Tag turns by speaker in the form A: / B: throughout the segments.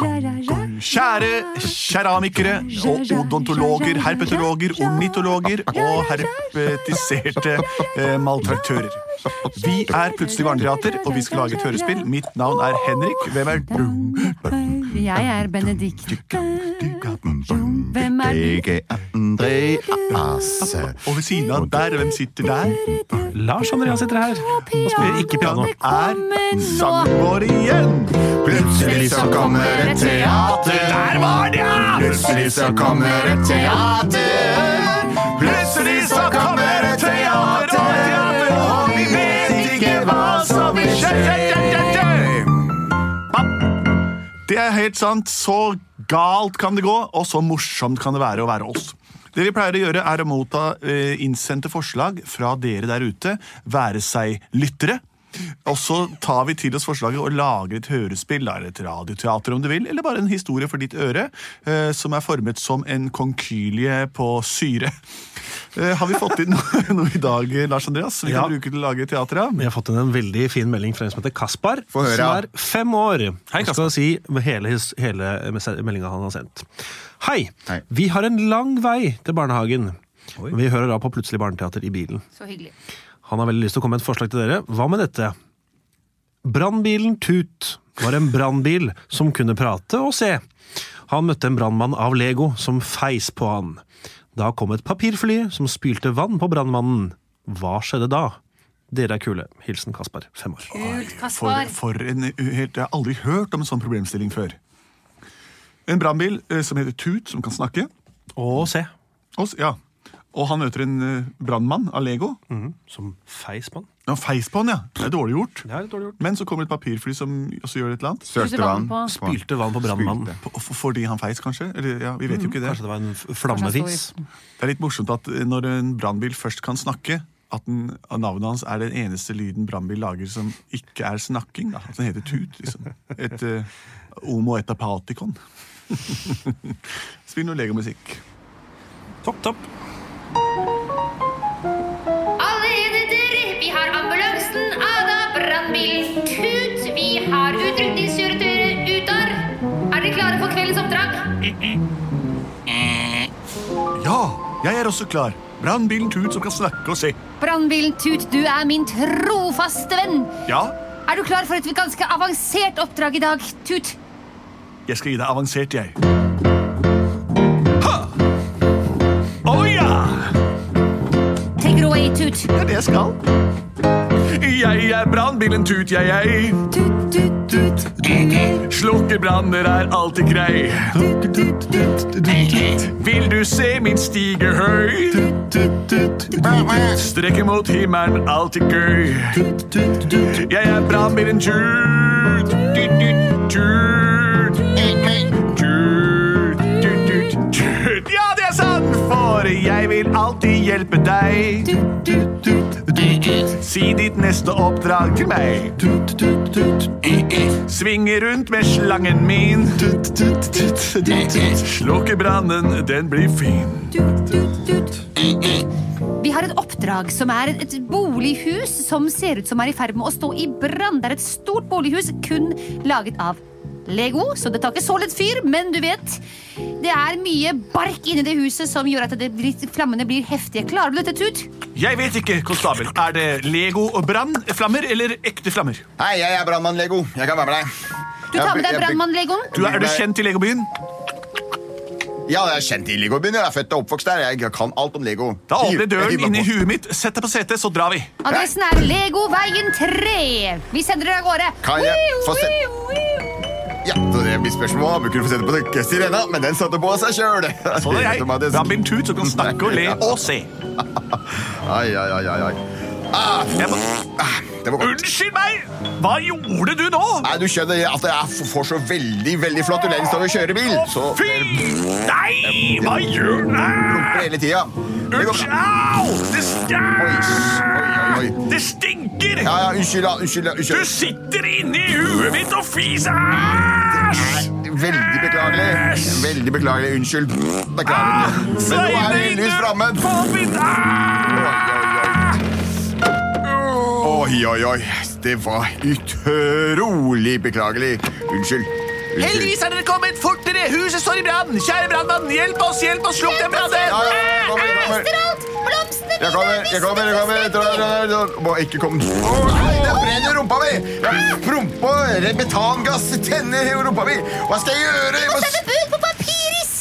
A: Kjære keramikere og odontologer, herpetologer, ornitologer og herpetiserte eh, maltraktører. Vi er plutselig barnepirater, og vi skal lage et hørespill. Mitt navn er Henrik. Hvem er du?
B: Jeg er Benedikte. Hvem er du?
C: Jeg er André Asse.
A: Og ved siden av der, hvem sitter der?
D: Lars Andrea sitter her og spiller ikke piano.
A: Er sangen vår igjen!
C: Plutselig så kommer et teater.
A: Der var det, ja!
C: Plutselig så kommer et teater. Plutselig så kommer et teater. Og vi vet ikke hva som vil skje.
A: Det er helt sant. Så galt kan det gå, og så morsomt kan det være å være oss. Det vi pleier å gjøre, er å motta eh, innsendte forslag fra dere der ute, være seg lyttere. Og så tar vi til oss forslaget og lager et hørespill, da, eller et radioteater om du vil, eller bare en historie for ditt øre, eh, som er formet som en konkylie på syre. Eh, har vi fått inn noe, noe i dag, Lars Andreas, som vi
D: Ja.
A: kan bruke til å lage teater av?
D: Vi har fått inn en veldig fin melding fra en som heter Kaspar,
C: Få høre.
D: som er fem år.
A: Hei,
D: Jeg skal si hele, his- hele meldinga han har sendt. Hei.
C: Hei.
D: Vi har en lang vei til barnehagen. Men vi hører da på Plutselig barneteater i bilen.
B: Så hyggelig.
D: Han har veldig lyst til å komme med et forslag til dere. Hva med dette? Brannbilen Tut var en brannbil som kunne prate og se. Han møtte en brannmann av Lego som feis på han. Da kom et papirfly som spylte vann på brannmannen. Hva skjedde da? Dere er kule. Hilsen Kaspar, fem år.
B: Kult,
A: For,
B: Kaspar.
A: for en helt, Jeg har aldri hørt om en sånn problemstilling før. En brannbil eh, som heter Tut, som kan snakke.
D: Og se,
A: Og, s- ja. og han møter en eh, brannmann av Lego.
D: Mhm. som feis på han.
A: Han feis på han, ja. Det er dårlig gjort.
D: Det er litt dårlig gjort.
A: Men så kommer et papirfly som også gjør et eller annet.
C: Sølte vann.
D: Spylte vann på brannmannen.
A: På- f- Fordi han feis, kanskje? Eller, ja, vi vet jo ikke det.
D: Kanskje det var en f-
B: Kanskje han
D: flammefis.
B: står
A: Det er litt morsomt at eh, når en brannbil først kan snakke, at den, at navnet hans er den eneste lyden brannbil lager som ikke er snakking. Da. Altså, Den heter tut, liksom. Et eh, homo etapatikon. Spill noe legomusikk.
D: Topp, topp.
E: Alle enheter, vi har ambulansen, Ada, brannbilen, Tut. Vi har utrykningskjøretøyet Utar. Er dere klare for kveldens oppdrag?
A: Ja, jeg er også klar. Brannbilen Tut som kan snakke og se.
B: Brannbilen Tut, du er min trofaste venn.
A: Ja,
B: Er du klar for et ganske avansert oppdrag i dag, Tut?
A: jeg skal gi deg avansert, jeg. Ha! Å ja!
B: Take it away, Tut.
A: Det er det jeg skal. Jeg er brannbilen Tut, jeg, jeg.
B: Tut, tut, tut.
A: Slukke branner er alltid grei. Vil du se min stige høy? Strekke mot himmelen, alltid gøy. Jeg er brannbilen Tut. Tut, tut, tut. Tut, tut, tut, tut. Ja, det er sant, for jeg vil alltid hjelpe deg. Si ditt neste oppdrag til meg. Svinge rundt med slangen min. Slukke brannen, den blir fin.
B: Vi har et oppdrag som er et bolighus som ser ut som er i ferd med å stå i brann. Det er et stort bolighus kun laget av Lego, så det tar ikke så lett fyr, men du vet. Det er mye bark inni det huset som gjør at det blir, flammene blir heftige. Klarer du dette, Tut?
A: Jeg vet ikke, konstabel. Er det Lego og brannflammer eller ekte flammer?
C: Hei, jeg er brannmann Lego. Jeg kan være med deg.
B: Du tar med deg brannmann-legoen.
A: Du, er du kjent i Legobyen?
C: Ja, jeg er kjent i Legobyen. Jeg er født og oppvokst der. Jeg kan alt om Lego.
A: Da åpner
C: Jeg
A: døren
C: hiver
A: inn i
C: på.
A: huet mitt. Sett deg på setet, så drar vi.
B: Adressen er Legoveien 3. Vi sender dere av gårde.
C: Kan jeg få se-
B: Wiu, wiu, wiu.
C: Ja, så det blir spørsmål. Jeg Bruker du få sette på det sirena, men den satte på seg sjøl.
A: Sånn er jeg. Brannbilen Tut som kan snakke og le og se.
C: Ai, ai, ai, ai, ai. Ah,
A: Jeg må...
C: ah, det var godt.
A: Unnskyld meg! Hva gjorde du nå?
C: Nei, Du skjønner at jeg får så veldig veldig flatulens av å kjøre bil.
A: Å,
C: Så
A: Fy! Nei! Hva gjør du?
C: Blomper hele tida. Det går-
A: Unnskyld! Au! Det
C: Oi,
A: stinker!
C: oi, oi.
A: Det stinker!
C: Ja, ja, unnskyld, da. Unnskyld. da,
A: Du
C: unnskyld.
A: sitter inni huet mitt og fiser! Æsj!
C: Veldig beklagelig. Veldig beklagelig. Unnskyld.
A: Ah,
C: Beklager. Men nå er vi heldigvis framme.
A: På mitt æsj!
C: Oi, oi, oi. det var utrolig beklagelig. Unnskyld. Unnskyld.
A: Heldigvis er dere kommet fortere! Huset står i brann! Kjære brannmann, hjelp oss! Hjelp oss! Slukk den
C: Ja,
A: brannen!
C: ja, jeg kommer, jeg kommer.
E: Alt! Blomstene
C: Jeg kommer, jeg kommer, jeg kommer. Jeg drar, drar, drar. Må ikke komme Å, Nei, det brenner i rumpa mi! Jeg promper metangass tenner i rumpa mi. Hva skal jeg gjøre? Jeg må s-
E: bud på papiris!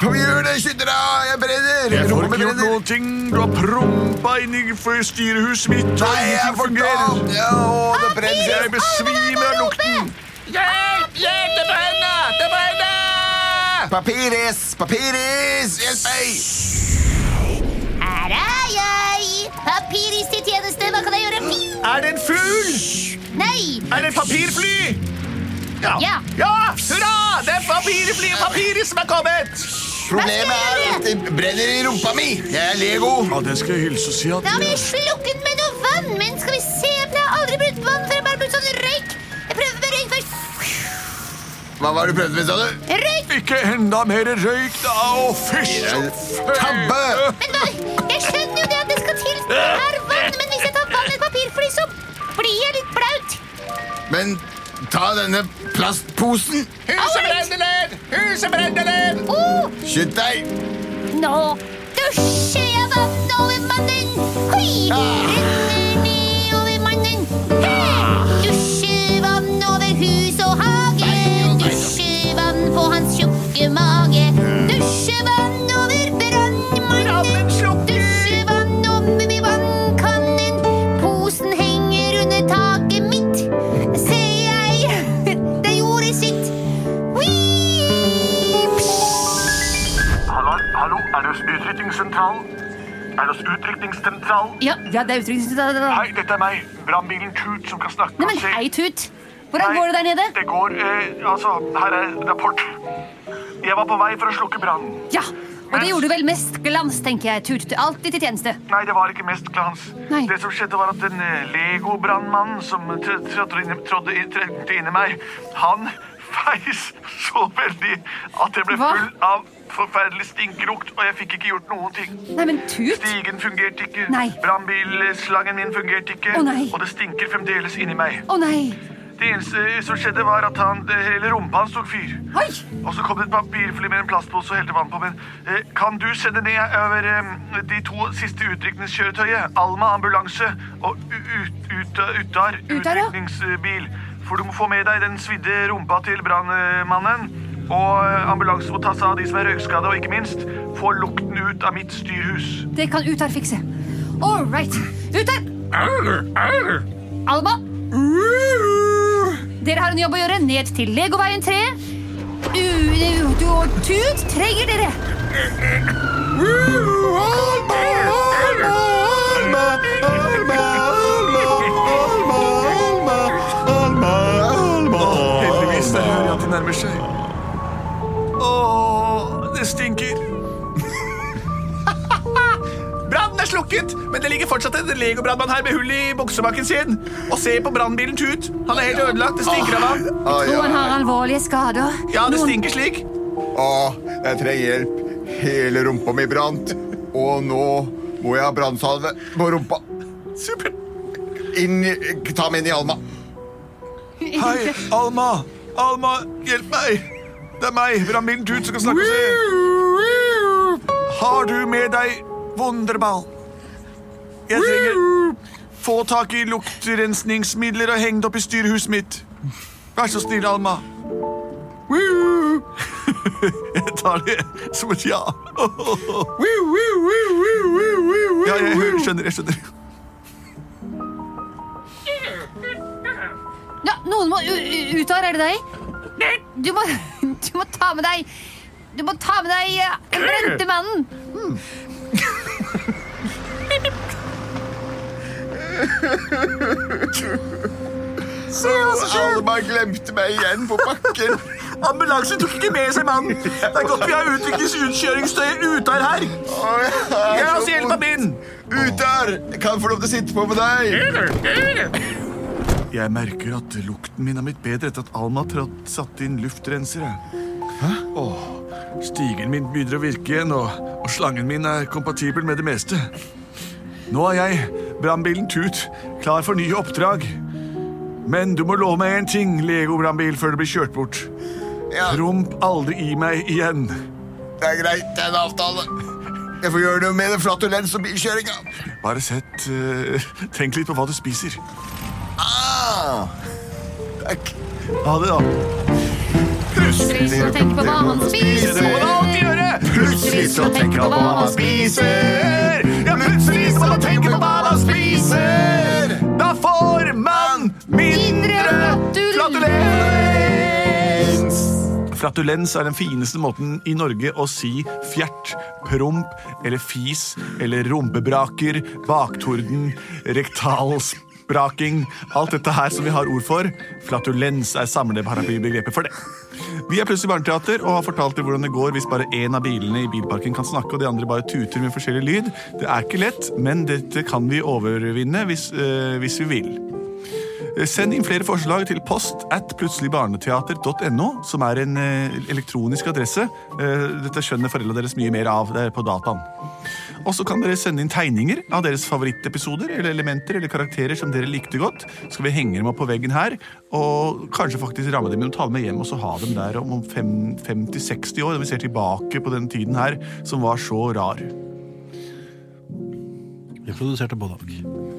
C: Kom, gjør det! Skynd dere! Jeg brenner!
A: Jeg får
C: Rumpa
A: ikke
C: mi
A: gjort
C: brenner.
A: noen ting. Du har prompa inn i styrehuset mitt. og
C: Nei,
A: ingenting
C: jeg er for
A: fungerer.
C: gal! Ja, å, det
A: Jeg
C: brenner.
A: besvimer av lukten. Hjelp! Hjelp! Det brenner! Det brenner!
C: Papiris! Papiris! Hjelp meg!
E: Her er jeg! Papiris til tjeneste, hva kan jeg gjøre? Fy-
A: Er det en fugl?
E: Nei!
A: Er det et papirfly?
E: Ja.
A: ja! Hurra! Det er papirfly og papiret som er kommet!
C: Problemet er at det brenner i rumpa mi. Jeg er Lego.
A: Ja, den skal jeg hilse og si at
E: Da må jeg slukke den med noe vann, men skal vi se for Jeg har aldri brukt vann før, jeg bare brukt sånn røyk. Jeg prøver med røyk først.
C: Hva var det du prøvde med, sa du?
E: Røyk!
A: Ikke enda mer røyk, da! Å, fysj!
C: Tabbe!
E: Men hva? Jeg skjønner jo det at det skal til her vann, men hvis jeg tar vann i et papirfly, så blir jeg litt blaut.
C: Men ta denne plastposen.
A: Huset brenner ned! Huset brenner ned!
E: Oh,
C: Skynd deg.
E: nå dusjer jeg vann over mannen. Hoi! Renner ned over mannen. Hæ! Dusjer vann over hus og hage. Dusjer vann på hans tjukke mage. Dusjer vann over brannmannen. Dusjer vann om i vannkannen. Posen henger under taket mitt. Ser jeg, det gjorde sitt. Whee!
F: Hallo, hallo, er det utrykningssentralen? Er det utrykningssentralen?
B: Ja, ja det er utrykningssentralen.
F: Hei, dette er meg, brannbilen Tut som kan snakke.
B: Nei, men
F: Se-
B: hei, Tut. Hvordan går det der nede?
F: Det går, eh, altså, her er rapport. Jeg var på vei for å slukke brannen.
B: Ja, og det gjorde du vel mest glans, tenker jeg. Tut, du er alltid til tjeneste.
F: Nei, det var ikke mest glans.
B: Nei.
F: Det som skjedde var at den eh, Lego-brannmannen som tr- trådte inn, trådde inn, trengte inn i meg, han feis så veldig at jeg ble
B: Hva?
F: full av forferdelig stinkelukt, og jeg fikk ikke gjort noen ting.
B: Nei, men Tut?
F: Stigen fungerte ikke.
B: Nei.
F: Brannbilslangen min fungerte ikke.
B: Å, nei.
F: Og det stinker fremdeles inni meg.
B: Å nei.
F: Det eneste som skjedde, var at han, det hele rumpa hans tok fyr.
B: Oi!
F: Og så kom det et papirfly med en plastpose og helte vann på. Men eh, kan du sende ned over eh, de to siste utrykningskjøretøyet? Alma ambulanse og U- ut, ut, Utar
B: Utar, ja.
F: utrykningsbil. For du må få med deg den svidde rumpa til brannmannen. Og eh, ambulansen må ta seg av de som er røykskada, og ikke minst få lukten ut av mitt styrhus.
B: Det kan Utar fikse. All right. Utar! Alma! Dere har en jobb å gjøre ned til Legoveien 3. U u- du og Tut trenger dere.
A: Heldigvis da hører jeg at de nærmer seg. Åh, det stinker. Brannen er slukket, men det ligger fortsatt en Lego-brannmann her med hull i buksebakken sin. Og se på brannbilen Tut. Han er helt ødelagt. Det stinker av han.
C: Å, ja.
B: Noen har alvorlige skader.
A: Ja, det
B: Noen-
A: stinker slik.
C: Å, jeg trenger hjelp. Hele rumpa mi brant. Og nå må jeg ha brannsalve på rumpa.
A: Supert.
C: Inn, i- ta meg inn i Alma.
A: Hei, Alma. Alma, hjelp meg. Det er meg, brannbilen Tut, som kan snakke og se. Har du med deg Wunderball? Jeg trenger få tak i luktrensningsmidler og heng det opp i styrehuset mitt. Vær så snill, Alma. Jeg tar det som et ja. Ja, jeg hø- skjønner, jeg skjønner.
B: Ja, noen må u- u- ut her, er det deg? Du må, du må ta med deg Du må ta med deg eh, brentemannen.
C: Alma glemte meg igjen på bakken.
A: Ambulansen tok ikke med seg mannen. Det er godt vi har utviklingsutkjøringsstøy ute her.
C: Å, jeg
A: La
C: er
A: oss
C: så
A: hjelpe
C: vond.
A: min.
C: Ut der! Jeg kan få lov til å sitte på med deg.
G: Jeg merker at lukten min er blitt bedre etter at Alma tråd- satte inn luftrensere. Hæ? Åh, stigen min begynner å virke igjen, og, og slangen min er kompatibel med det meste. Nå er jeg
A: brannbilen Tut klar for nye oppdrag. Men du må love meg én ting, Lego-brannbil, før du blir kjørt bort.
C: Ja,
A: Promp aldri i meg igjen.
C: det er greit. Det er en avtale. Jeg får gjøre noe med det flatulens og bilkjøringa.
A: Bare sett eh, Tenk litt på hva du spiser.
C: Ah! Takk.
A: Ha det, da.
B: Plutselig så tenker på hva han spiser.
C: Det må man
A: alltid gjøre.
C: Plutselig så tenker man på hva man spiser. Ja, plutselig så man tenker på hva man spiser.
A: Da får man mindre flatulens! Flatulens er den fineste måten i Norge å si fjert, promp eller fis eller rumpebraker, baktorden, rektalsbraking Alt dette her som vi har ord for. Flatulens er samleparaplybegreppet for det. Vi er plutselig barneteater og har fortalt dere hvordan det går hvis bare én av bilene i bilparken kan snakke, og de andre bare tuter med forskjellig lyd. Det er ikke lett, men dette kan vi overvinne hvis, øh, hvis vi vil. Send inn flere forslag til post at plutseligbarneteater.no, som er en eh, elektronisk adresse. Eh, Dette skjønner foreldrene deres mye mer av. Det er på dataen. Og så kan dere sende inn tegninger av deres favorittepisoder eller elementer eller karakterer som dere likte godt. Så skal vi henge dem opp på veggen her, og kanskje faktisk ramme dem inn og ta dem med hjem og så ha dem der om 50-60 år, når vi ser tilbake på den tiden her som var så rar.
D: Vi produserte både og.